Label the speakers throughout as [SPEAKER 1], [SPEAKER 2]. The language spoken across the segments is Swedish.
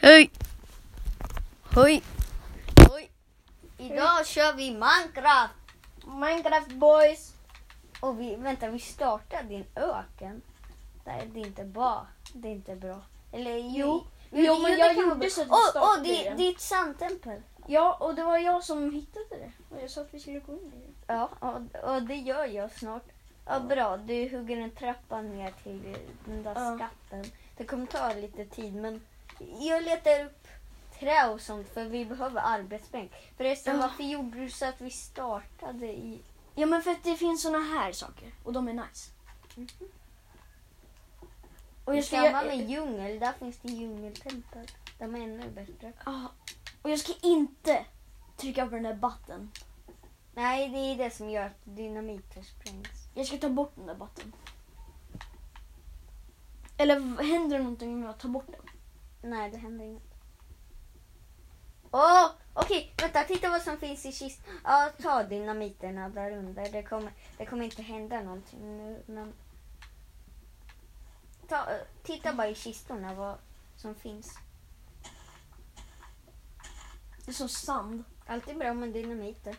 [SPEAKER 1] Hej! Hoj!
[SPEAKER 2] Oj. Idag kör vi Minecraft.
[SPEAKER 1] Minecraft boys!
[SPEAKER 2] Och vi, vänta, vi startar din öken. Nej, det är inte bra. Det är inte bra. Eller
[SPEAKER 1] Jo.
[SPEAKER 2] vi-
[SPEAKER 1] Jo,
[SPEAKER 2] vi-
[SPEAKER 1] men
[SPEAKER 2] det
[SPEAKER 1] jag
[SPEAKER 2] kan
[SPEAKER 1] gjorde typ
[SPEAKER 2] vara bra.
[SPEAKER 1] så att vi
[SPEAKER 2] Åh,
[SPEAKER 1] startade
[SPEAKER 2] åh, det,
[SPEAKER 1] den.
[SPEAKER 2] det är ett sandtempel.
[SPEAKER 1] Ja, och det var jag som hittade det. Och jag sa att vi skulle gå in i det.
[SPEAKER 2] Ja, och, och det gör jag snart. Ja, bra. Du hugger en trappa ner till den där
[SPEAKER 1] Ja.
[SPEAKER 2] skatten. Det kommer ta lite tid, men jag letar upp trä och sånt för vi behöver arbetsbänk. Förresten,
[SPEAKER 1] Ja.
[SPEAKER 2] varför gjorde du så att vi startade i...
[SPEAKER 1] Ja, men för att det finns såna här saker. Och de är nice. Och
[SPEAKER 2] I
[SPEAKER 1] jag Mhm. ska...
[SPEAKER 2] samband
[SPEAKER 1] Jag,
[SPEAKER 2] med djungel, där finns det djungeltempel. De är ännu bättre.
[SPEAKER 1] Ja. Ah, och jag ska inte trycka på den där button.
[SPEAKER 2] Nej, det är det som gör att dynamiter sprängs.
[SPEAKER 1] Jag ska ta bort den där button. Eller v- händer det någonting om jag tar bort den?
[SPEAKER 2] Nej, det händer inget. Åh, okej, vänta, titta vad som finns i kistan. Ja, ta dynamiterna där under. Det kommer, det kommer inte hända någonting nu, men... Ta, eh, titta bara i kistorna vad som finns.
[SPEAKER 1] Det är som sand.
[SPEAKER 2] Alltid bra med dynamiter.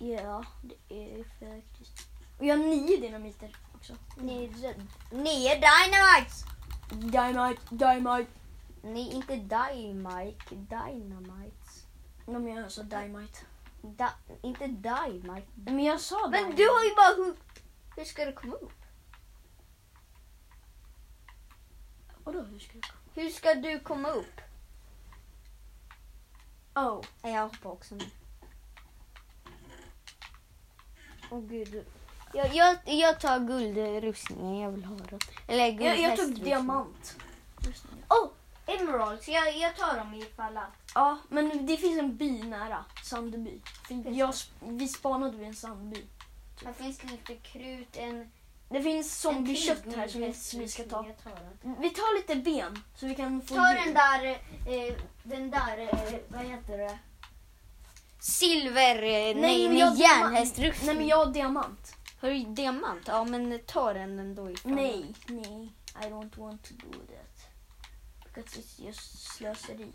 [SPEAKER 1] Ja, det är faktiskt... Och jag har nio dynamiter också.
[SPEAKER 2] Ni är, rädd- ni är dynamites!
[SPEAKER 1] Dynamite, dynamite.
[SPEAKER 2] Ni är inte dynamite, dynamites.
[SPEAKER 1] Ja, men jag sa dynamite.
[SPEAKER 2] Da, inte dynamite.
[SPEAKER 1] Men jag sa
[SPEAKER 2] Men
[SPEAKER 1] dynamite.
[SPEAKER 2] du har ju bara hugg... Hur ska du komma upp?
[SPEAKER 1] Vadå, hur ska jag...
[SPEAKER 2] Hur ska du komma upp?
[SPEAKER 1] Oh.
[SPEAKER 2] Nej, Jag hoppar också nu. Åh gud. Jag, jag, jag tar guldrustningen, jag vill ha den. Eller liksom. guld,
[SPEAKER 1] Jag, jag tog
[SPEAKER 2] hästrustningen.
[SPEAKER 1] diamant.
[SPEAKER 2] Oh, emeralds, jag, jag tar dem ifall att...
[SPEAKER 1] Ja, men det finns en by nära. Sandby. För Jag, sp- vi spanade vid en sandby.
[SPEAKER 2] Här finns lite krut, en...
[SPEAKER 1] Det finns
[SPEAKER 2] en till
[SPEAKER 1] zombiekött här som vi,
[SPEAKER 2] guldhästrustning.
[SPEAKER 1] vi ska ta.
[SPEAKER 2] Jag tar den.
[SPEAKER 1] Vi tar lite ben så vi kan
[SPEAKER 2] Ta
[SPEAKER 1] få djur.
[SPEAKER 2] den där, eh, den där, eh, vad heter det? Silver, eh, nej,
[SPEAKER 1] men
[SPEAKER 2] men
[SPEAKER 1] jag-
[SPEAKER 2] järnhästrustning.
[SPEAKER 1] Nej, men jag har diamant.
[SPEAKER 2] Har du diamant? Ja, men ta den ändå ifall.
[SPEAKER 1] Nej, nej. I don't want to do that. Because it's just slöseri.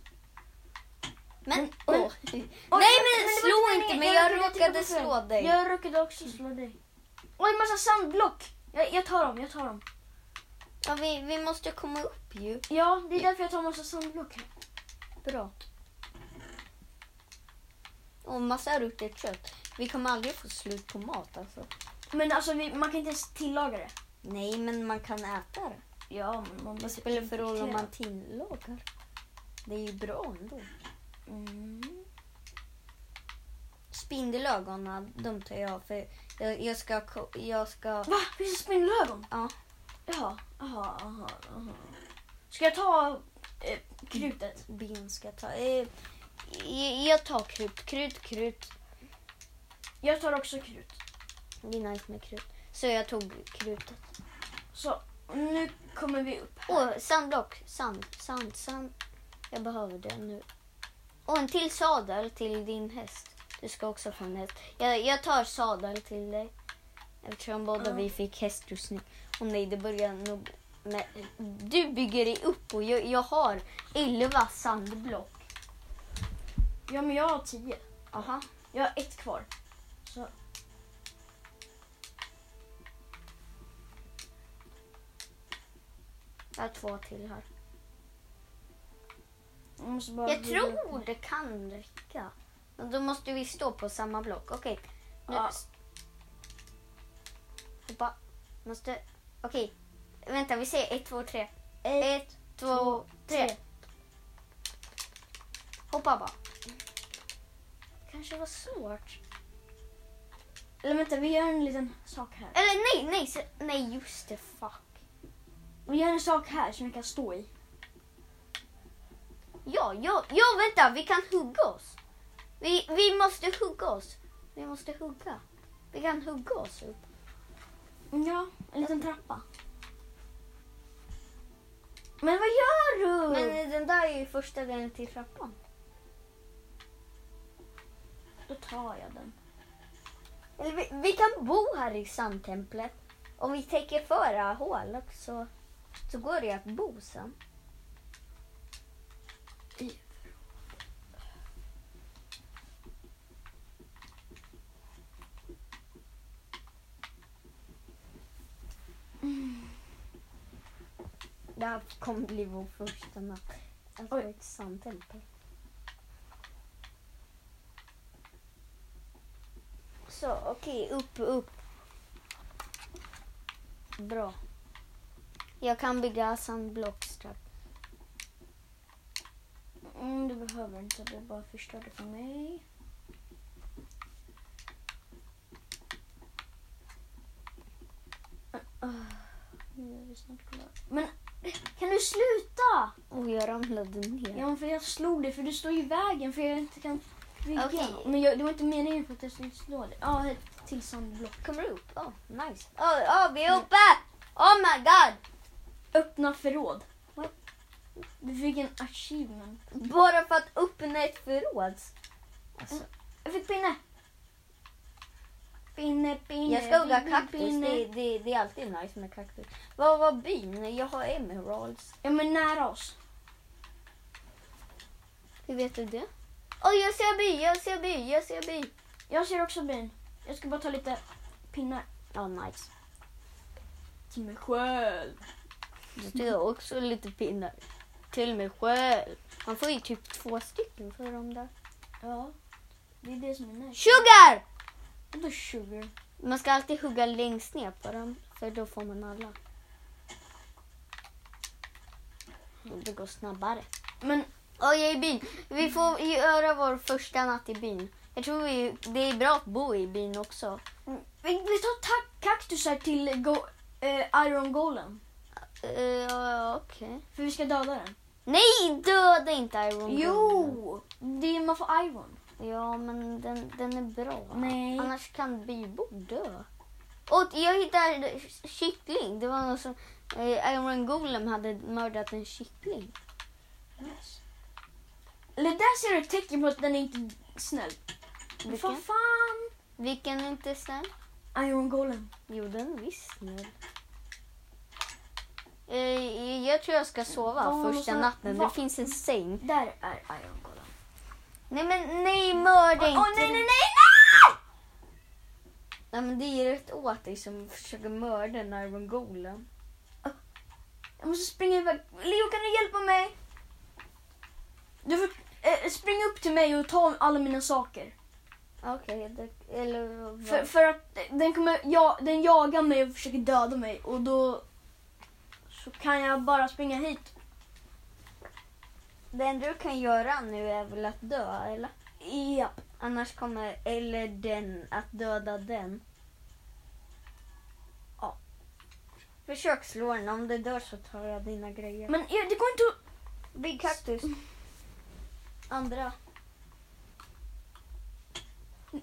[SPEAKER 2] Men,
[SPEAKER 1] Men-
[SPEAKER 2] Mm. åh.
[SPEAKER 1] Oj,
[SPEAKER 2] Nej
[SPEAKER 1] men
[SPEAKER 2] men
[SPEAKER 1] det var
[SPEAKER 2] slå
[SPEAKER 1] inte
[SPEAKER 2] inte
[SPEAKER 1] meningen.
[SPEAKER 2] mig,
[SPEAKER 1] Jag
[SPEAKER 2] jag
[SPEAKER 1] råkade
[SPEAKER 2] råkade
[SPEAKER 1] trycka på
[SPEAKER 2] slå
[SPEAKER 1] fel.
[SPEAKER 2] dig.
[SPEAKER 1] Jag råkade också slå dig. Oj, massa sandblock. Jag, jag tar dem, jag tar dem.
[SPEAKER 2] Ja, vi, vi måste komma upp ju.
[SPEAKER 1] Ja, det är därför jag tar massa sandblock här.
[SPEAKER 2] Bra. Och massa rutet kött. Vi kommer aldrig få slut på mat alltså.
[SPEAKER 1] Men alltså, vi, man kan inte ens tillaga det.
[SPEAKER 2] Nej men man kan äta det.
[SPEAKER 1] Ja, men man
[SPEAKER 2] Vad spelar det för roll om man tillagar? Det är ju bra ändå.
[SPEAKER 1] Mm.
[SPEAKER 2] Spindelögonen, de tar jag av för jag, jag ska... ko- Jag ska...
[SPEAKER 1] Va? Finns det spindelögon?
[SPEAKER 2] Ja.
[SPEAKER 1] Jaha, jaha, jaha, jaha. Ska jag ta eh, krutet?
[SPEAKER 2] Ben ska jag ta. Eh, jag- jag tar krut. Krut, krut.
[SPEAKER 1] Jag tar också krut.
[SPEAKER 2] Det är nice med krut. Så jag tog krutet.
[SPEAKER 1] Så, nu kommer vi upp här.
[SPEAKER 2] Åh, sandblock. Sand, sand, sand. Jag behöver det nu. Och en till sadel till din häst. Du ska också få en häst. Jag, jag tar sadel till dig. Eftersom båda
[SPEAKER 1] Ja.
[SPEAKER 2] vi fick hästrustning. Och nej, det börjar nog... Med, du bygger dig upp och jag, jag har 11 sandblock.
[SPEAKER 1] Ja, men jag har tio.
[SPEAKER 2] Aha.
[SPEAKER 1] Jag har ett kvar. Så.
[SPEAKER 2] Jag har två till här.
[SPEAKER 1] Jag, måste bara
[SPEAKER 2] Jag tror det kan räcka. Men då måste vi stå på samma block. Okej. Nu...
[SPEAKER 1] Ja.
[SPEAKER 2] Hoppa. Måste... Okej. Vänta, vi säger ett, två, tre.
[SPEAKER 1] Ett,
[SPEAKER 2] Ett, två, tre. Hoppa bara. Kanske var svårt.
[SPEAKER 1] Eller vänta, vi gör en liten sak här.
[SPEAKER 2] Eller nej, nej, se- nej just det. Fuck.
[SPEAKER 1] Vi gör en sak här som vi kan stå i.
[SPEAKER 2] Ja, ja, ja, vänta. Vi kan hugga oss. Vi, vi måste hugga oss. Vi måste hugga. Vi kan hugga oss upp.
[SPEAKER 1] Ja, en liten trappa. Men vad gör du?
[SPEAKER 2] Men den där är ju första delen till trappan.
[SPEAKER 1] Då tar jag den.
[SPEAKER 2] Eller vi, vi kan bo här i sandtemplet. Om vi täcker förra hålet så, så går det att bo sen. Det här kommer bli vår första natt. Alltså, Ett
[SPEAKER 1] Oj.
[SPEAKER 2] verksamt LP. Så, okej. upp, upp. Bra. Jag kan bygga sandblockstrap.
[SPEAKER 1] Mm, du behöver inte, du bara förstörde för mig. Ah, Nu är vi snart klara. Men kan du sluta?
[SPEAKER 2] Och jag ramlade ner.
[SPEAKER 1] Ja, men för jag slog dig för du står i vägen för jag inte kan bygga.
[SPEAKER 2] Okej.
[SPEAKER 1] Men jag, det var inte meningen för att jag skulle slå dig. Ja, ett till sandblock.
[SPEAKER 2] Kommer du upp? Åh, nice. Åh, åh, vi är uppe! Oh my god!
[SPEAKER 1] Öppna förråd. What? Du fick en achievement.
[SPEAKER 2] Bara för att öppna ett förråd. Alltså,
[SPEAKER 1] Jag fick pinne. Pinne, pinne.
[SPEAKER 2] Mm. jag ska hugga
[SPEAKER 1] pinne,
[SPEAKER 2] kaktus.
[SPEAKER 1] pinne.
[SPEAKER 2] Det, det, det är alltid nice med kaktus. Vad var byn? Jag har emeralds.
[SPEAKER 1] Ja, men nära oss.
[SPEAKER 2] Hur vet du det? Åh, jag ser by, jag ser by, jag ser by.
[SPEAKER 1] Jag ser också bin. Jag ska bara ta lite pinnar
[SPEAKER 2] Ja, nice.
[SPEAKER 1] till mig själv.
[SPEAKER 2] Du tog jag också lite pinnar. Till mig själv. Man får ju typ två stycken för de där.
[SPEAKER 1] Ja, det är det som är nice.
[SPEAKER 2] Sugar!
[SPEAKER 1] Vadå sugar?
[SPEAKER 2] Man ska alltid hugga längst ner på dem, för då får man alla. Det går snabbare.
[SPEAKER 1] Men
[SPEAKER 2] Och jag är i byn. Vi får göra vår första natt i byn. Jag tror vi, det är bra att bo i byn också.
[SPEAKER 1] mm, vi, vi tar ta- kaktusar till go- eh, Iron Golem.
[SPEAKER 2] Uh, Okej.
[SPEAKER 1] För vi ska döda den.
[SPEAKER 2] Nej, döda inte Iron Golem.
[SPEAKER 1] Jo! Det är, man får Iron.
[SPEAKER 2] Ja, men den, den är bra.
[SPEAKER 1] Nej.
[SPEAKER 2] Annars kan bybor dö. Och jag hittade kyckling. Det var någon som... Eh, Iron Golem hade mördat en kyckling.
[SPEAKER 1] Eller där ser du ett tecken på att den är inte snäll. Men för
[SPEAKER 2] Vilken?
[SPEAKER 1] fan!
[SPEAKER 2] Vilken är inte snäll?
[SPEAKER 1] Iron Golem.
[SPEAKER 2] Jo, den är visst snäll. Eh, jag tror jag ska sova
[SPEAKER 1] Ja, men
[SPEAKER 2] första
[SPEAKER 1] så-
[SPEAKER 2] natten.
[SPEAKER 1] va?
[SPEAKER 2] Det finns en säng.
[SPEAKER 1] Där är Iron Golem.
[SPEAKER 2] Nej men nej mörda
[SPEAKER 1] Åh
[SPEAKER 2] inte.
[SPEAKER 1] nej, nej, Ah! nej,
[SPEAKER 2] nej men det är rätt åt dig som försöker mörda en Iron Golem.
[SPEAKER 1] Jag måste springa iväg. Leo, kan du hjälpa mig? Du får eh, springa upp till mig och ta alla mina saker.
[SPEAKER 2] Okej, det- eller vad?
[SPEAKER 1] För, för att eh, den, kommer, ja, den jagar mig och försöker döda mig och då så kan jag bara springa hit.
[SPEAKER 2] det enda du kan göra nu är väl att dö eller?
[SPEAKER 1] Ja.
[SPEAKER 2] Annars kommer eller den att döda den. Ja. Försök slå den, om det dör så tar jag dina grejer.
[SPEAKER 1] Men eh, det går inte att...
[SPEAKER 2] Big Cactus. Andra.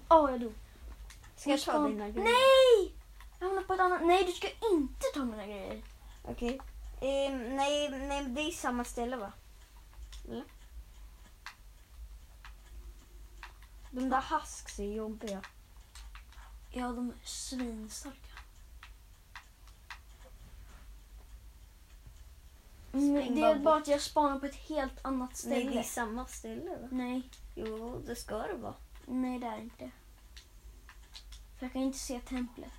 [SPEAKER 1] Ja, jag dog.
[SPEAKER 2] Ska jag ta dina grejer?
[SPEAKER 1] Nej! Jag hamnar på ett annat... Nej, du ska inte ta mina grejer.
[SPEAKER 2] Okej. Ehm, nej, nej, det är samma ställe va? Eller? De där husks är jobbiga.
[SPEAKER 1] Ja, de är svinstarka. Mm,
[SPEAKER 2] Spring
[SPEAKER 1] Mm, det är
[SPEAKER 2] bara
[SPEAKER 1] bara att jag spanar på ett helt annat
[SPEAKER 2] Nej, det är
[SPEAKER 1] ställe.
[SPEAKER 2] samma ställe va?
[SPEAKER 1] Nej.
[SPEAKER 2] Jo, det ska det vara.
[SPEAKER 1] Nej, det är det inte. För jag kan inte se templet.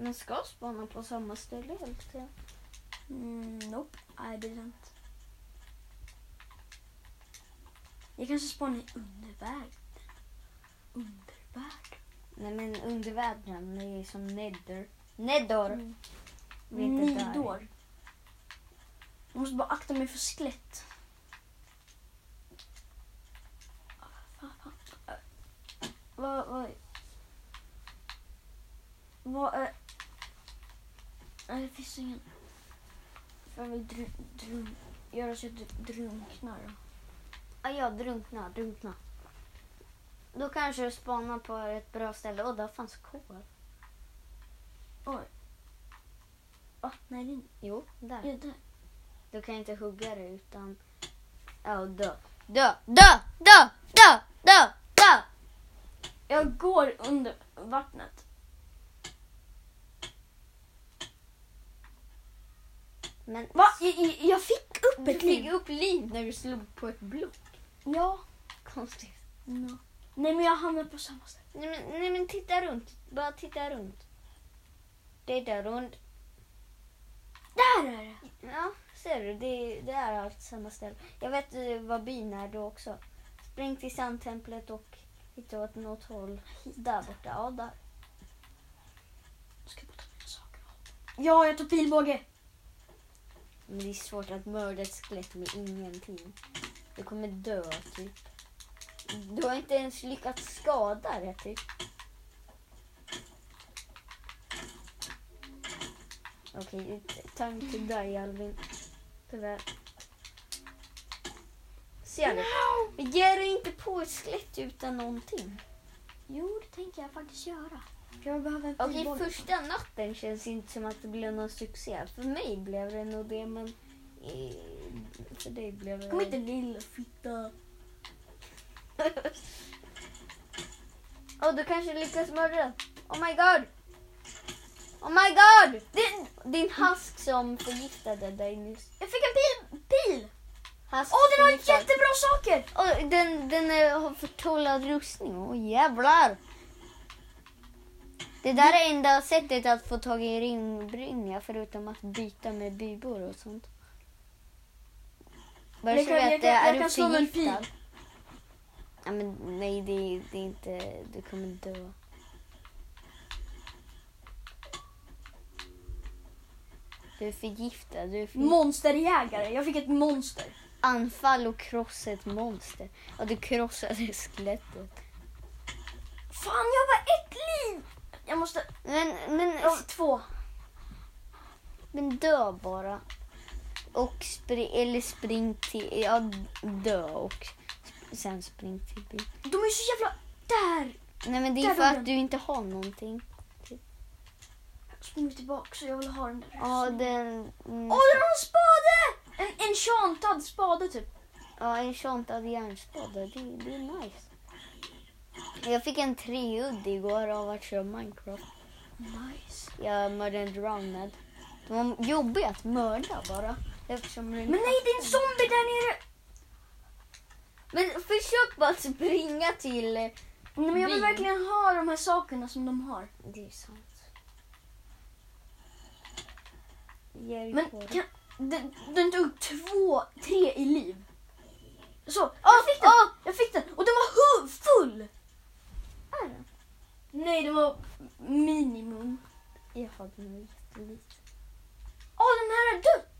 [SPEAKER 2] Man ska spana på samma ställe hela tiden.
[SPEAKER 1] Mm, nope, I didn't. Jag kanske spanar i undervärlden. Undervärlden.
[SPEAKER 2] Nej men undervärlden är som Nedder. Neddor!
[SPEAKER 1] Mm.
[SPEAKER 2] Vi är inte där.
[SPEAKER 1] Nidor. Jag måste bara akta mig för skelett. Fan, fan. Äh, Vad... Vad... Vad... är- Nej, det finns ingen... För jag vill dru, dru, göra så jag dr- drunknar.
[SPEAKER 2] Ja, jag drunkna, drunkna. Då kanske du spanar på ett bra ställe. Åh, där fanns kol.
[SPEAKER 1] Ah, nej, det är inte...
[SPEAKER 2] Jo, där.
[SPEAKER 1] det är där.
[SPEAKER 2] Du kan inte hugga det utan... Ja, och dö. Dö, dö, dö, dö, dö, dö!
[SPEAKER 1] Jag går under vattnet.
[SPEAKER 2] Men
[SPEAKER 1] Va? Jag, jag- jag fick upp
[SPEAKER 3] Du
[SPEAKER 1] ett
[SPEAKER 3] fick
[SPEAKER 1] liv.
[SPEAKER 3] upp liv när du slog på ett block.
[SPEAKER 1] Ja.
[SPEAKER 2] konstigt.
[SPEAKER 1] Mm. Nej men jag hamnade på samma ställe.
[SPEAKER 2] Nej men, nej men titta runt. Bara titta runt. Titta runt.
[SPEAKER 1] Där är det!
[SPEAKER 2] Ja, ser du? Det, det är allt samma ställe. Jag vet eh, vad byn är då också. Spring till sandtemplet och hitta åt något håll. Där borta. Ja, där.
[SPEAKER 1] Jag ska bara ta mina saker. Ja, jag tog pilbåge.
[SPEAKER 3] Men det är svårt att mörda ett skelett med ingenting. Du kommer dö typ.
[SPEAKER 2] Du har inte ens lyckats skada det typ.
[SPEAKER 3] Okej, time to die Alvin. Tyvärr. Ser du?
[SPEAKER 2] Men Ge dig inte på ett skelett utan någonting.
[SPEAKER 1] Jo, det tänker jag faktiskt göra. Jag behöver en
[SPEAKER 2] Okej,
[SPEAKER 1] pilbåge.
[SPEAKER 2] första natten känns inte som att det blev någon succé. För mig blev det nog det, men eh, för dig blev det...
[SPEAKER 1] Kom inte lilla fitta.
[SPEAKER 2] Åh, du kanske lyckas mörda. Oh my god! Oh my god! Din, din hask som förgiftade dig nyss.
[SPEAKER 1] Jag fick en pil! Pil!
[SPEAKER 2] Hask
[SPEAKER 1] Åh, den har
[SPEAKER 2] förgiftad.
[SPEAKER 1] jättebra saker!
[SPEAKER 2] Åh, den, den är, har förtrollad rustning. Åh jävlar! Det där är enda sättet att få tag i ringbrynja förutom att byta med bybor och sånt. Bara
[SPEAKER 1] Jag
[SPEAKER 2] så
[SPEAKER 1] kan-
[SPEAKER 2] du
[SPEAKER 1] jag
[SPEAKER 2] vet,
[SPEAKER 1] kan- jag
[SPEAKER 2] är du
[SPEAKER 1] kan slå med en pil.
[SPEAKER 2] förgiftad? Ja, men nej, det, det är inte... Du kommer dö. Du är förgiftad. Du är
[SPEAKER 1] Mm.
[SPEAKER 2] förgiftad
[SPEAKER 1] Monsterjägare. Jag fick ett monster.
[SPEAKER 2] anfall och krossa ett monster. Ja, du krossade skelettet.
[SPEAKER 1] Fan, jag har bara ett liv! Jag måste...
[SPEAKER 2] Men, men,
[SPEAKER 1] Jag har två.
[SPEAKER 2] men dö bara. Och spring, eller spring till, ja dö och sp- sen spring till byn.
[SPEAKER 1] De är så jävla... Där!
[SPEAKER 2] Nej men det är
[SPEAKER 1] Där
[SPEAKER 2] för
[SPEAKER 1] dog den.
[SPEAKER 2] att du inte har någonting.
[SPEAKER 1] Jag springer tillbaka så jag vill ha den där.
[SPEAKER 2] Ja, den... Mm,
[SPEAKER 1] Åh, den har en spade! En enchantad spade typ.
[SPEAKER 2] ja, en tjantad järnspade, det, det är nice. Jag fick en treudd igår av att köra Minecraft.
[SPEAKER 1] Nice.
[SPEAKER 2] Jag mördade en drowned. De var jobbiga att mörda bara. Eftersom
[SPEAKER 1] Men nej, det är en zombie där nere!
[SPEAKER 2] Men försök bara springa till...
[SPEAKER 1] Nej, men jag
[SPEAKER 2] Bin.
[SPEAKER 1] vill verkligen ha de här sakerna som de har.
[SPEAKER 2] Det är sant.
[SPEAKER 1] Men
[SPEAKER 2] Jericho.
[SPEAKER 1] kan... Den, den tog två, tre i liv. Så, jag fick den!
[SPEAKER 2] åh!
[SPEAKER 1] Jag fick den! Och den var hu- full!
[SPEAKER 2] Är den?
[SPEAKER 1] Nej, den var minimum.
[SPEAKER 2] Jag har den jätteliten.
[SPEAKER 1] Åh, Ah, den här är dött!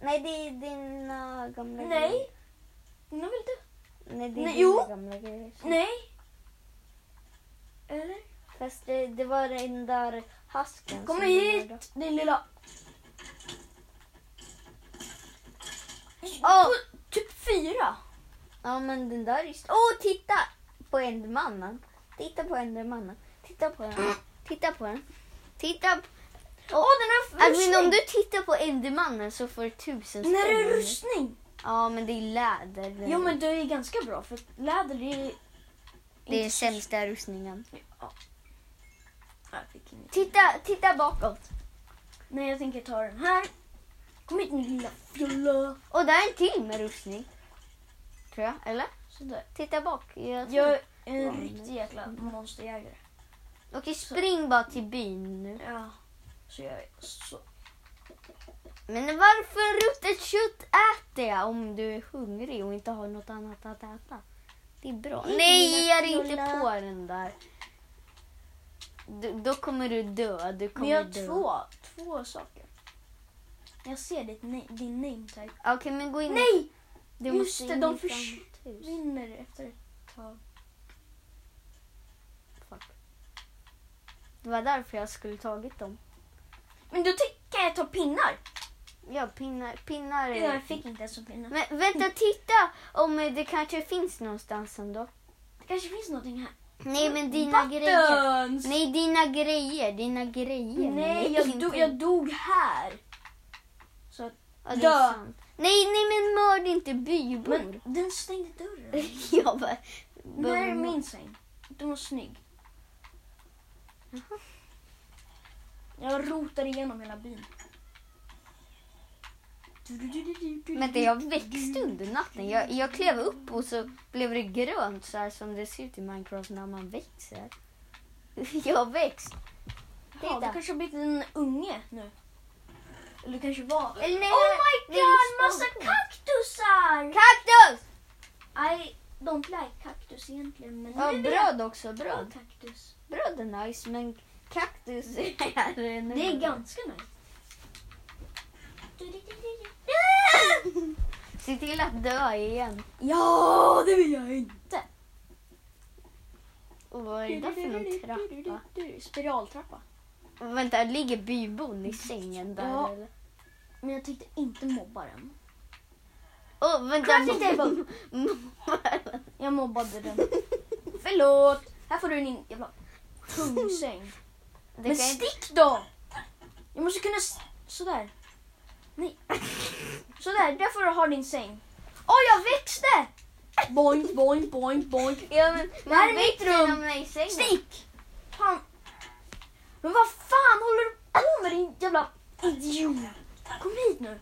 [SPEAKER 2] Nej, det är dina gamla
[SPEAKER 1] Nej. Den har väl dött?
[SPEAKER 2] grejer. Nej, det är
[SPEAKER 1] Nej,
[SPEAKER 2] dina
[SPEAKER 1] jo.
[SPEAKER 2] gamla grejer.
[SPEAKER 1] Nej. Eller?
[SPEAKER 2] Fast det, det var den där hasken.
[SPEAKER 1] Kom
[SPEAKER 2] som
[SPEAKER 1] hit
[SPEAKER 2] var där.
[SPEAKER 1] din lilla...
[SPEAKER 2] Åh!
[SPEAKER 1] Typ fyra.
[SPEAKER 2] Ja, men den där är... Åh, oh, titta! På Endermannen. Titta på Endermannen. Titta på den. Titta på den. Titta på...
[SPEAKER 1] Åh, Ah, den har
[SPEAKER 2] Alvin, om
[SPEAKER 1] rustning.
[SPEAKER 2] du tittar på Endermannen så får du tusen
[SPEAKER 1] Den här
[SPEAKER 2] spänn.
[SPEAKER 1] är rustning.
[SPEAKER 2] Ja, men det är läder. Det-
[SPEAKER 1] Jo, men det är ganska bra för läder det är...
[SPEAKER 2] Det är
[SPEAKER 1] inte så-
[SPEAKER 2] sämsta rustningen.
[SPEAKER 1] Ja. Jag fick inget.
[SPEAKER 2] Titta, titta bakåt.
[SPEAKER 1] Nej, jag tänker ta den här. Kom hit min lilla fjolla.
[SPEAKER 2] Och där är en till med rustning. Tror jag, eller?
[SPEAKER 1] Sådär.
[SPEAKER 2] Titta bak. Jag tror-
[SPEAKER 1] Jag är en
[SPEAKER 2] Ja,
[SPEAKER 1] riktig jäkla monsterjägare.
[SPEAKER 2] Okej, spring bara till byn nu.
[SPEAKER 1] Ja. Så jag är så...
[SPEAKER 2] Men varför ruttet kött äter jag om du är hungrig och inte har något annat att äta? Det är bra.
[SPEAKER 1] Hej,
[SPEAKER 2] Nej,
[SPEAKER 1] lilla
[SPEAKER 2] ge dig inte
[SPEAKER 1] knulla.
[SPEAKER 2] på den där. Du, då kommer du dö. Du kommer
[SPEAKER 1] Men jag har
[SPEAKER 2] dö.
[SPEAKER 1] två, två saker. Jag ser ditt na- din name tag.
[SPEAKER 2] Okej, men gå in.
[SPEAKER 1] Nej!
[SPEAKER 2] Du
[SPEAKER 1] Just
[SPEAKER 2] måste
[SPEAKER 1] det,
[SPEAKER 2] in
[SPEAKER 1] de
[SPEAKER 2] i
[SPEAKER 1] förs-
[SPEAKER 2] framåt hus.
[SPEAKER 1] Vinner efter ett tag.
[SPEAKER 2] Det var därför jag skulle tagit dem.
[SPEAKER 1] Men då ty- kan jag ta pinnar.
[SPEAKER 2] Ja, pinnar. pinnar
[SPEAKER 1] Ja, jag fick inte ens en pinne.
[SPEAKER 2] Men vänta, titta om eh, det kanske finns någonstans ändå.
[SPEAKER 1] Det kanske finns någonting här.
[SPEAKER 2] Nej, men dina grejer.
[SPEAKER 1] Buttons!
[SPEAKER 2] Nej, dina grejer. Dina grejer.
[SPEAKER 1] Nej, jag, dog, jag dog här. Så att,
[SPEAKER 2] Ja, det
[SPEAKER 1] dö.
[SPEAKER 2] är sant. Nej, nej, men mörd inte bybor.
[SPEAKER 1] men den stängde dörren.
[SPEAKER 2] jag bara...
[SPEAKER 1] Den här är min säng. Den var snygg. Jag rotar igenom hela byn.
[SPEAKER 2] Men det, jag växte under natten. Jag, jag klev upp och så blev det grönt så här som det ser ut i Minecraft när man växer. Jag växt.
[SPEAKER 1] Ja, du
[SPEAKER 2] Titta.
[SPEAKER 1] kanske har blivit en unge nu. Eller du kanske var... Eller nej,
[SPEAKER 2] Oh my
[SPEAKER 1] nej,
[SPEAKER 2] god,
[SPEAKER 1] massa
[SPEAKER 2] massa
[SPEAKER 1] kaktusar!
[SPEAKER 2] kaktus!
[SPEAKER 1] I don't like kaktus egentligen. Men
[SPEAKER 2] Ja,
[SPEAKER 1] nu
[SPEAKER 2] bröd också.
[SPEAKER 1] vill jag ha
[SPEAKER 2] Bröd.
[SPEAKER 1] kaktus.
[SPEAKER 2] Bröd är nice men kaktus är en
[SPEAKER 1] Det är ganska nice.
[SPEAKER 2] Se till att dö igen.
[SPEAKER 1] Ja, det vill jag inte.
[SPEAKER 2] Och vad är det där för någon trappa?
[SPEAKER 1] Spiraltrappa.
[SPEAKER 2] Vänta, ligger bybon i sängen där
[SPEAKER 1] Ja.
[SPEAKER 2] eller?
[SPEAKER 1] Men jag tänkte inte mobba den.
[SPEAKER 2] Åh, vänta.
[SPEAKER 1] Crafty table. Jag mobbade den. Förlåt. Här får du din jävla tungsäng.
[SPEAKER 2] Det
[SPEAKER 1] Men
[SPEAKER 2] kan inte...
[SPEAKER 1] stick då! Jag måste kunna... s- Sådär. Nej. Sådär, där får du ha din säng. Åh, jag växte! Boink, boink, boink, boink.
[SPEAKER 2] Ja, men,
[SPEAKER 1] Det här är mitt rum.
[SPEAKER 2] rum!
[SPEAKER 1] Stick! Fan. Men vad fan håller du på med din jävla idiot? Kom hit nu.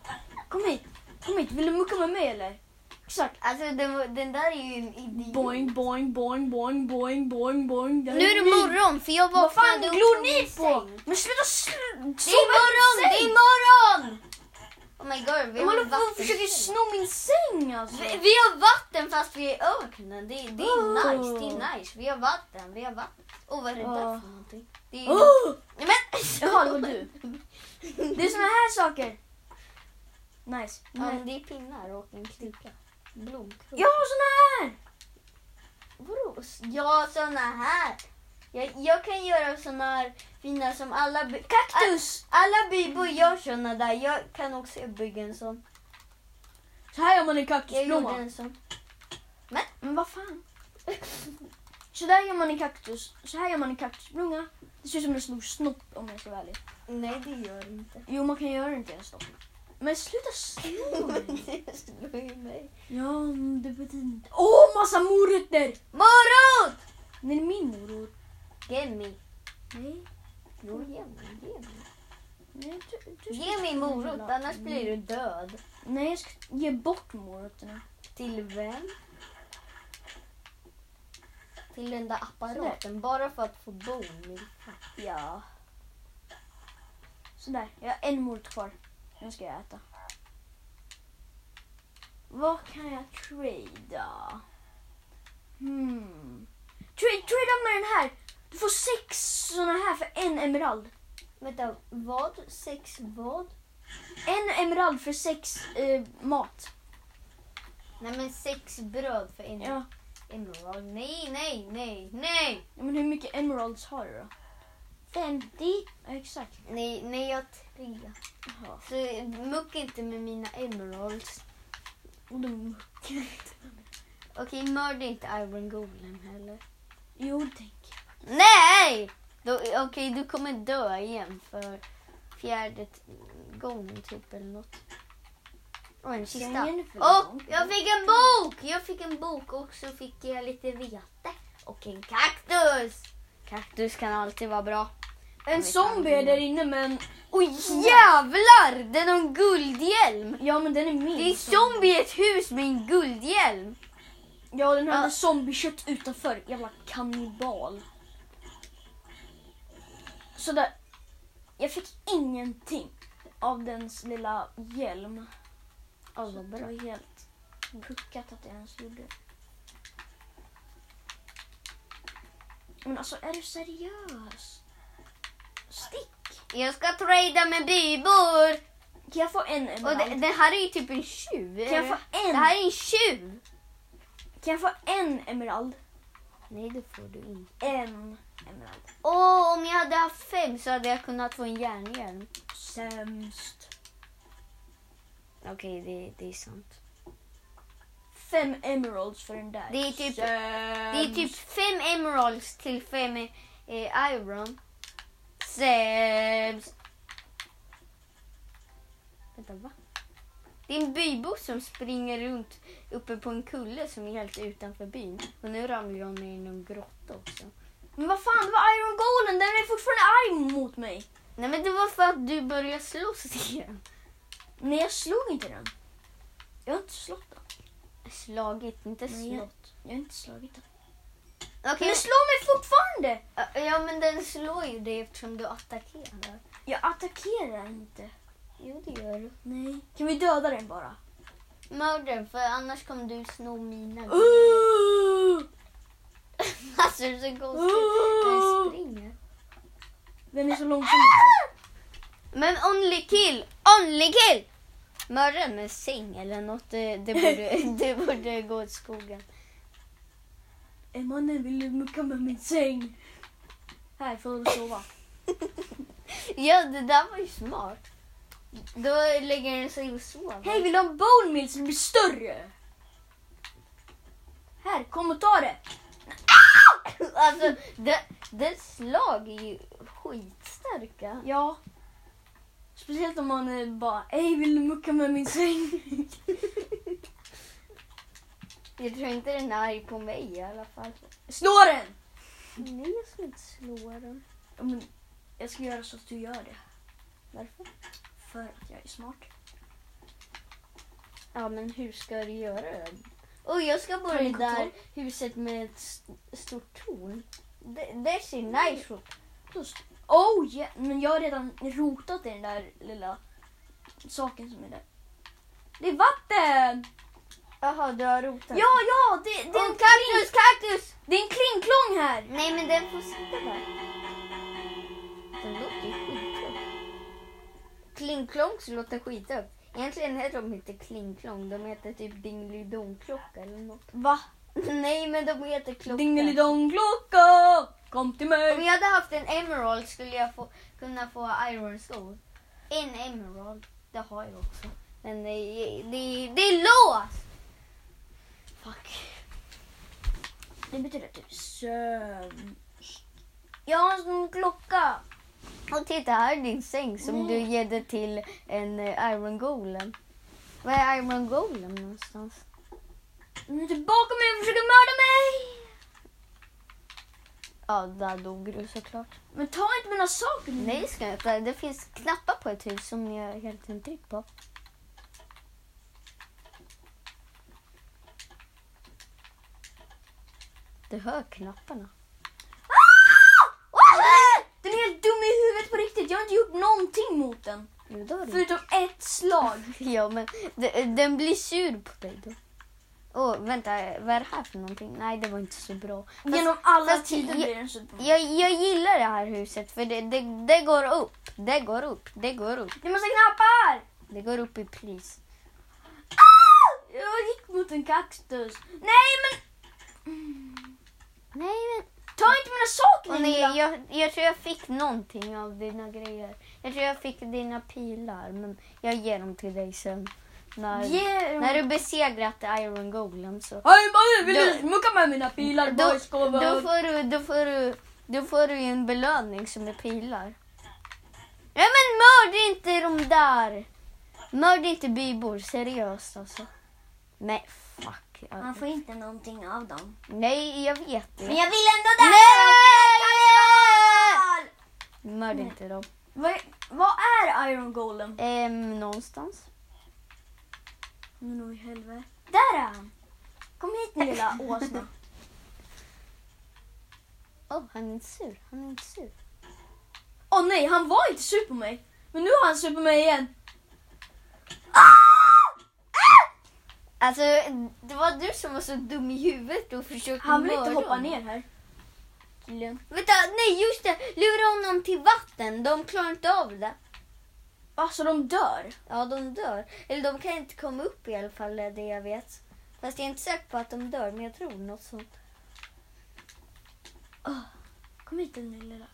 [SPEAKER 1] Kom hit. Kom hit. Vill du mucka med mig eller? Exakt.
[SPEAKER 2] Alltså den, var- den där är ju en idiot.
[SPEAKER 1] Boing, boing, boing, boing, boing, boing, boing.
[SPEAKER 2] Nu är det morgon för jag
[SPEAKER 1] Vad fan
[SPEAKER 2] vaknade upp
[SPEAKER 1] glor
[SPEAKER 2] från
[SPEAKER 1] ni
[SPEAKER 2] min
[SPEAKER 1] på?
[SPEAKER 2] säng.
[SPEAKER 1] Men sluta sl-
[SPEAKER 2] Det är morgon, det är morgon! Oh my god, vi
[SPEAKER 1] Jag
[SPEAKER 2] har
[SPEAKER 1] håller på och
[SPEAKER 2] vatten.
[SPEAKER 1] försöker sno min säng alltså.
[SPEAKER 2] Vi, vi har vatten fast vi är i öknen. Det, det är
[SPEAKER 1] Oh.
[SPEAKER 2] nice, det är nice. Vi har vatten, vi har vatten. Åh vad är det där
[SPEAKER 1] Oh.
[SPEAKER 2] för någonting? Det är...
[SPEAKER 1] Oh!
[SPEAKER 2] Nej,
[SPEAKER 1] Jaha, det var
[SPEAKER 2] men...
[SPEAKER 1] du. Det är såna här saker. Nice.
[SPEAKER 2] Ja,
[SPEAKER 1] Men-
[SPEAKER 2] men det är pinnar och en klicka. Blomkrok.
[SPEAKER 1] Jag har såna här!
[SPEAKER 2] Vadå? Ja, såna här. Jag, jag kan göra såna här fina som alla... by-
[SPEAKER 1] Kaktus!
[SPEAKER 2] Alla bybor gör såna där. Jag kan också bygga en sån.
[SPEAKER 1] Så här gör man en
[SPEAKER 2] Jag gjorde
[SPEAKER 1] kaktusblomma.
[SPEAKER 2] en sån.
[SPEAKER 1] Men vad fan. Så där gör man en kaktus. Så här gör man en kaktusblomma. Det ser ut som en stor snopp om jag ska vara ärlig.
[SPEAKER 2] Nej, det gör det inte.
[SPEAKER 1] Jo, man kan göra det till en snopp. Men sluta sno mig.
[SPEAKER 2] Det slår ju mig.
[SPEAKER 1] Ja, men det betyder inte... Åh, massa morötter!
[SPEAKER 2] Morot!
[SPEAKER 1] Nej, det är min morot.
[SPEAKER 2] Ge mig.
[SPEAKER 1] Nej,
[SPEAKER 2] Jo, ge mig. Ge mig.
[SPEAKER 1] nej, du, du ska
[SPEAKER 2] Ge mig
[SPEAKER 1] ta den
[SPEAKER 2] morot,
[SPEAKER 1] jävla-
[SPEAKER 2] annars blir du död.
[SPEAKER 1] Nej, jag ska ge bort morötterna.
[SPEAKER 2] Till vem? Till den där apparaten, bara för att få bomull.
[SPEAKER 1] Ja. Sådär, jag har en morot kvar. Nu ska jag äta. Vad kan jag trada? Hmm. Tra- Trada med den här! Du får sex såna här för en emerald.
[SPEAKER 2] Vänta, vad? Sex vad?
[SPEAKER 1] En emerald för sex eh, mat.
[SPEAKER 2] Nej men sex bröd för en
[SPEAKER 1] Ja.
[SPEAKER 2] emerald. Nej, nej, nej, nej!
[SPEAKER 1] ja, men hur mycket emeralds har du då? 50? Ja, exakt.
[SPEAKER 2] Nej, nej jag har tre.
[SPEAKER 1] Jaha.
[SPEAKER 2] Så mucka inte med mina emeralds.
[SPEAKER 1] Och då-
[SPEAKER 2] Okej, mörda inte Iron Golem heller.
[SPEAKER 1] Jo, tänk.
[SPEAKER 2] Nej! Då- Okej, du kommer dö igen för fjärde t- gången typ eller något. Och en kista.
[SPEAKER 1] Sängen är för
[SPEAKER 2] Och
[SPEAKER 1] lång.
[SPEAKER 2] jag fick en bok! Jag fick en bok och så fick jag lite vete och en kaktus. Kaktus kan alltid vara bra.
[SPEAKER 1] En zombie är där inne men...
[SPEAKER 2] Oj jävlar! Den har en guldhjälm!
[SPEAKER 1] Ja, men den är min.
[SPEAKER 2] Det är zombie i ett hus med en guldhjälm.
[SPEAKER 1] Ja, den hade
[SPEAKER 2] Ja.
[SPEAKER 1] zombiekött utanför. Jävla kannibal. Sådär. Jag fick ingenting av dens lilla hjälm.
[SPEAKER 2] Alltså
[SPEAKER 1] Det var helt puckat att jag ens gjorde det. Men alltså, är du seriös? Stick!
[SPEAKER 2] Jag ska trada med bybor.
[SPEAKER 1] Kan jag få en
[SPEAKER 2] Och
[SPEAKER 1] emerald?
[SPEAKER 2] det, det här är ju typ en tjuv.
[SPEAKER 1] kan jag få en?
[SPEAKER 2] Det här är en tjuv.
[SPEAKER 1] Kan jag få en emerald?
[SPEAKER 2] Nej, det får du inte.
[SPEAKER 1] En emerald.
[SPEAKER 2] Åh, om jag hade haft fem så hade jag kunnat få en järnhjälm.
[SPEAKER 1] Sämst.
[SPEAKER 2] Okej, det, det är sant.
[SPEAKER 1] Fem emeralds för den där.
[SPEAKER 2] Det är typ- Det är
[SPEAKER 1] Sämst.
[SPEAKER 2] typ fem emeralds till fem eh, iron. Sämst. Vänta, va? Det är en bybo som springer runt uppe på en kulle som är helt utanför byn. Och nu ramlar jag ner i någon grotta också.
[SPEAKER 1] Men vad fan, det var Iron Golem. Den är fortfarande arg mot mig.
[SPEAKER 2] Nej men det var för att du började slåss igen.
[SPEAKER 1] Nej, jag slog inte den. Jag har inte slått den.
[SPEAKER 2] Slagit, inte
[SPEAKER 1] Nej, jag,
[SPEAKER 2] slått.
[SPEAKER 1] jag har inte slagit den. Men
[SPEAKER 2] Okej,
[SPEAKER 1] den slår mig fortfarande!
[SPEAKER 2] men- ja men den slår ju dig eftersom du attackerar.
[SPEAKER 1] Jag attackerar inte.
[SPEAKER 2] Jo det gör du.
[SPEAKER 1] Nej. Kan vi döda den bara?
[SPEAKER 2] Mörda den för annars kommer du sno mina.
[SPEAKER 1] Uh!
[SPEAKER 2] Alltså det är så konstigt. Den
[SPEAKER 1] Uh!
[SPEAKER 2] springer.
[SPEAKER 1] Den är så långsam också.
[SPEAKER 2] Men only kill! Only kill! Mörda den med säng eller något. Det, det, borde, det borde gå åt skogen.
[SPEAKER 1] Är mannen vill mucka med min säng. Här får du sova.
[SPEAKER 2] Ja det där var ju smart. Då lägger den sig och sover.
[SPEAKER 1] Hej, vill du ha en bone meal som blir större? Här, kom och ta det.
[SPEAKER 2] Alltså det, det slag är ju skitstarka.
[SPEAKER 1] Ja. Speciellt om man eh, bara, hej vill du mucka med min säng?
[SPEAKER 2] Jag tror inte den är arg på mig i alla fall.
[SPEAKER 1] Slå den!
[SPEAKER 2] Nej, jag ska inte slå den.
[SPEAKER 1] Ja, men jag ska göra så att du gör det.
[SPEAKER 2] Varför?
[SPEAKER 1] För att jag är smart.
[SPEAKER 2] Ja, men hur ska du göra det? Och jag ska bo
[SPEAKER 1] Tar
[SPEAKER 2] i
[SPEAKER 1] ni
[SPEAKER 2] det där
[SPEAKER 1] kontroll?
[SPEAKER 2] huset med ett st- stort torn. Det, det ser nice ut.
[SPEAKER 1] Just. Oh yeah. Men jag har redan rotat i den där lilla saken som är där. Det är vatten!
[SPEAKER 2] Jaha, du har rotat.
[SPEAKER 1] Ja, ja! Det, det, är, en
[SPEAKER 2] Och
[SPEAKER 1] kling,
[SPEAKER 2] kaktus, kaktus!
[SPEAKER 1] det är en klingklång här!
[SPEAKER 2] Nej, men den får sitta där. Den låter ju skithögt. Klingklongs låter skithögt. Egentligen heter de inte klingklong, de heter typ dingelidongklocka eller något.
[SPEAKER 1] Va?
[SPEAKER 2] Nej, men de heter klocka.
[SPEAKER 1] Dingelidongklocka! Kom till
[SPEAKER 2] Om
[SPEAKER 1] mig!
[SPEAKER 2] jag hade haft en emerald skulle jag få, kunna få iron sword. En emerald, det har jag också. Men det, är- det, är- det är låst! Fuck.
[SPEAKER 1] Det betyder typ sömn. Jag har en sån klocka.
[SPEAKER 2] Och titta, här är din säng som du gädde till en eh, iron golem. Var är iron golem någonstans?
[SPEAKER 1] Den är tillbaka mig och försöker mörda mig!
[SPEAKER 2] Ja, där dog du såklart.
[SPEAKER 1] Men ta inte mina saker nu.
[SPEAKER 2] Nej, det ska jag inte. Det finns knappar på ett hus som jag hela tiden trycker på. Du hör knapparna.
[SPEAKER 1] Ah! Den är helt dum i huvudet på riktigt. Jag har inte gjort någonting mot den.
[SPEAKER 2] Jo, då är det.
[SPEAKER 1] Förutom ett slag.
[SPEAKER 2] Ja, men d- den blir sur på dig då. Åh, vänta. Vad är det här för någonting? Nej, det var inte så bra. Fast
[SPEAKER 1] Genom alla
[SPEAKER 2] fast
[SPEAKER 1] tider
[SPEAKER 2] jag-
[SPEAKER 1] blir den så dum.
[SPEAKER 2] jag, jag gillar det här huset för det, det, det går upp. Det går upp. Det går upp.
[SPEAKER 1] Det är massa knappar! Ah!
[SPEAKER 2] Det går upp i pris.
[SPEAKER 1] Jag gick mot en kaktus. Nej men
[SPEAKER 2] Nej, men
[SPEAKER 1] ta inte mina saker
[SPEAKER 2] Och
[SPEAKER 1] din
[SPEAKER 2] nej,
[SPEAKER 1] lilla-
[SPEAKER 2] jag, jag tror jag fick någonting av dina grejer. Jag tror jag fick dina pilar, men jag ger dem till dig sen. När,
[SPEAKER 1] Ge dem.
[SPEAKER 2] när du besegrat Iron Golem så...
[SPEAKER 1] Hej mannen, vill
[SPEAKER 2] Då-
[SPEAKER 1] du smucka med mina pilar
[SPEAKER 2] Då,
[SPEAKER 1] boys? Kom
[SPEAKER 2] då,
[SPEAKER 1] och-
[SPEAKER 2] får du, då, får du, då får du ju en belöning som är pilar. Ja men mörda inte de där! Mörda inte bybor, seriöst alltså. Nej, fuck. Jag-
[SPEAKER 1] Han får inte någonting av dem.
[SPEAKER 2] Nej, jag vet
[SPEAKER 1] Men
[SPEAKER 2] det.
[SPEAKER 1] jag vill ändå det!
[SPEAKER 2] Nej! Mörda inte dem.
[SPEAKER 1] Vad, vad är Iron Golem?
[SPEAKER 2] Ehm, någonstans.
[SPEAKER 1] Men oj helvete. Där är han! Kom hit din lilla åsna.
[SPEAKER 2] Åh, han är inte sur. Han är inte sur.
[SPEAKER 1] Åh nej, han var inte sur på mig. Men nu har han sur på mig igen.
[SPEAKER 2] Alltså, det var du som var så dum i huvudet och försökte
[SPEAKER 1] Han vill inte
[SPEAKER 2] mörda
[SPEAKER 1] hoppa
[SPEAKER 2] honom.
[SPEAKER 1] ner här. Tydligen.
[SPEAKER 2] Vänta, nej just det! Lura honom till vatten. De klarar inte av det.
[SPEAKER 1] Alltså de dör.
[SPEAKER 2] Ja, de dör. Eller de kan inte komma upp i alla fall, det är det jag vet. Fast jag är inte säker på att de dör, men jag tror något sånt.
[SPEAKER 1] Kom hit din lilla.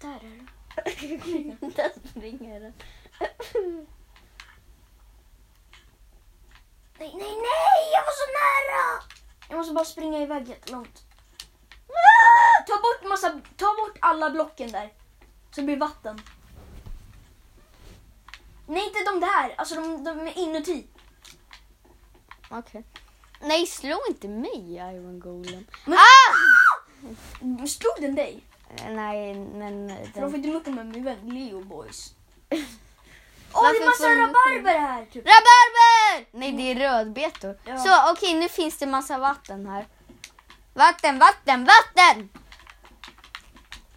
[SPEAKER 1] Där är du.
[SPEAKER 2] Där springer den.
[SPEAKER 1] Nej, nej, nej! Jag var så nära! Jag måste bara springa iväg jättelångt. Ah! Ta bort, massa, ta bort alla blocken där. Så det blir vatten. Nej, inte de där. Alltså de, de är inuti.
[SPEAKER 2] Okej. Nej, slå inte mig, Iron Golem.
[SPEAKER 1] Men, ah! Slog den dig?
[SPEAKER 2] Eh, Nej, men...
[SPEAKER 1] För de
[SPEAKER 2] Den...
[SPEAKER 1] får inte mucka med min vän Leo boys. Åh, det är
[SPEAKER 3] Varför
[SPEAKER 1] massa
[SPEAKER 3] får de-
[SPEAKER 1] rabarber här! Typ.
[SPEAKER 2] Rabarber! Nej, det är rödbetor.
[SPEAKER 1] Ja.
[SPEAKER 2] Så, okej, nu finns det massa vatten här. Vatten, vatten, vatten!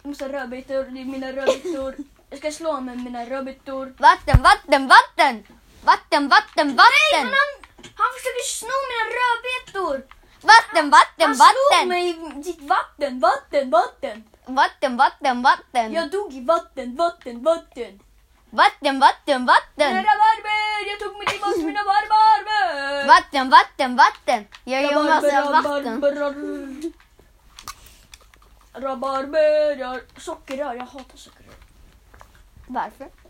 [SPEAKER 1] Massa rödbetor, det är mina rödbetor. Jag ska slå med mina rödbetor.
[SPEAKER 2] Vatten, vatten, vatten! Vatten, vatten,
[SPEAKER 1] Men
[SPEAKER 2] vatten!
[SPEAKER 1] han, han försöker sno mina rödbetor!
[SPEAKER 2] Vatten, vatten,
[SPEAKER 1] Han slog
[SPEAKER 2] vatten!
[SPEAKER 1] mig i sitt vatten, vatten, vatten!
[SPEAKER 2] Vatten, vatten, vatten!
[SPEAKER 1] Jag dog i vatten, vatten, vatten!
[SPEAKER 2] Vatten, vatten,
[SPEAKER 1] Mina
[SPEAKER 2] vatten!
[SPEAKER 1] rabarber! Jag tog mig tillbaka till mina rabarber!
[SPEAKER 2] Vatten, vatten, vatten! Jag gör massa vatten.
[SPEAKER 1] Rabarber, rabarber. Rabarber, jag- sockerrör. Jag hatar sockerrör.
[SPEAKER 2] Varför?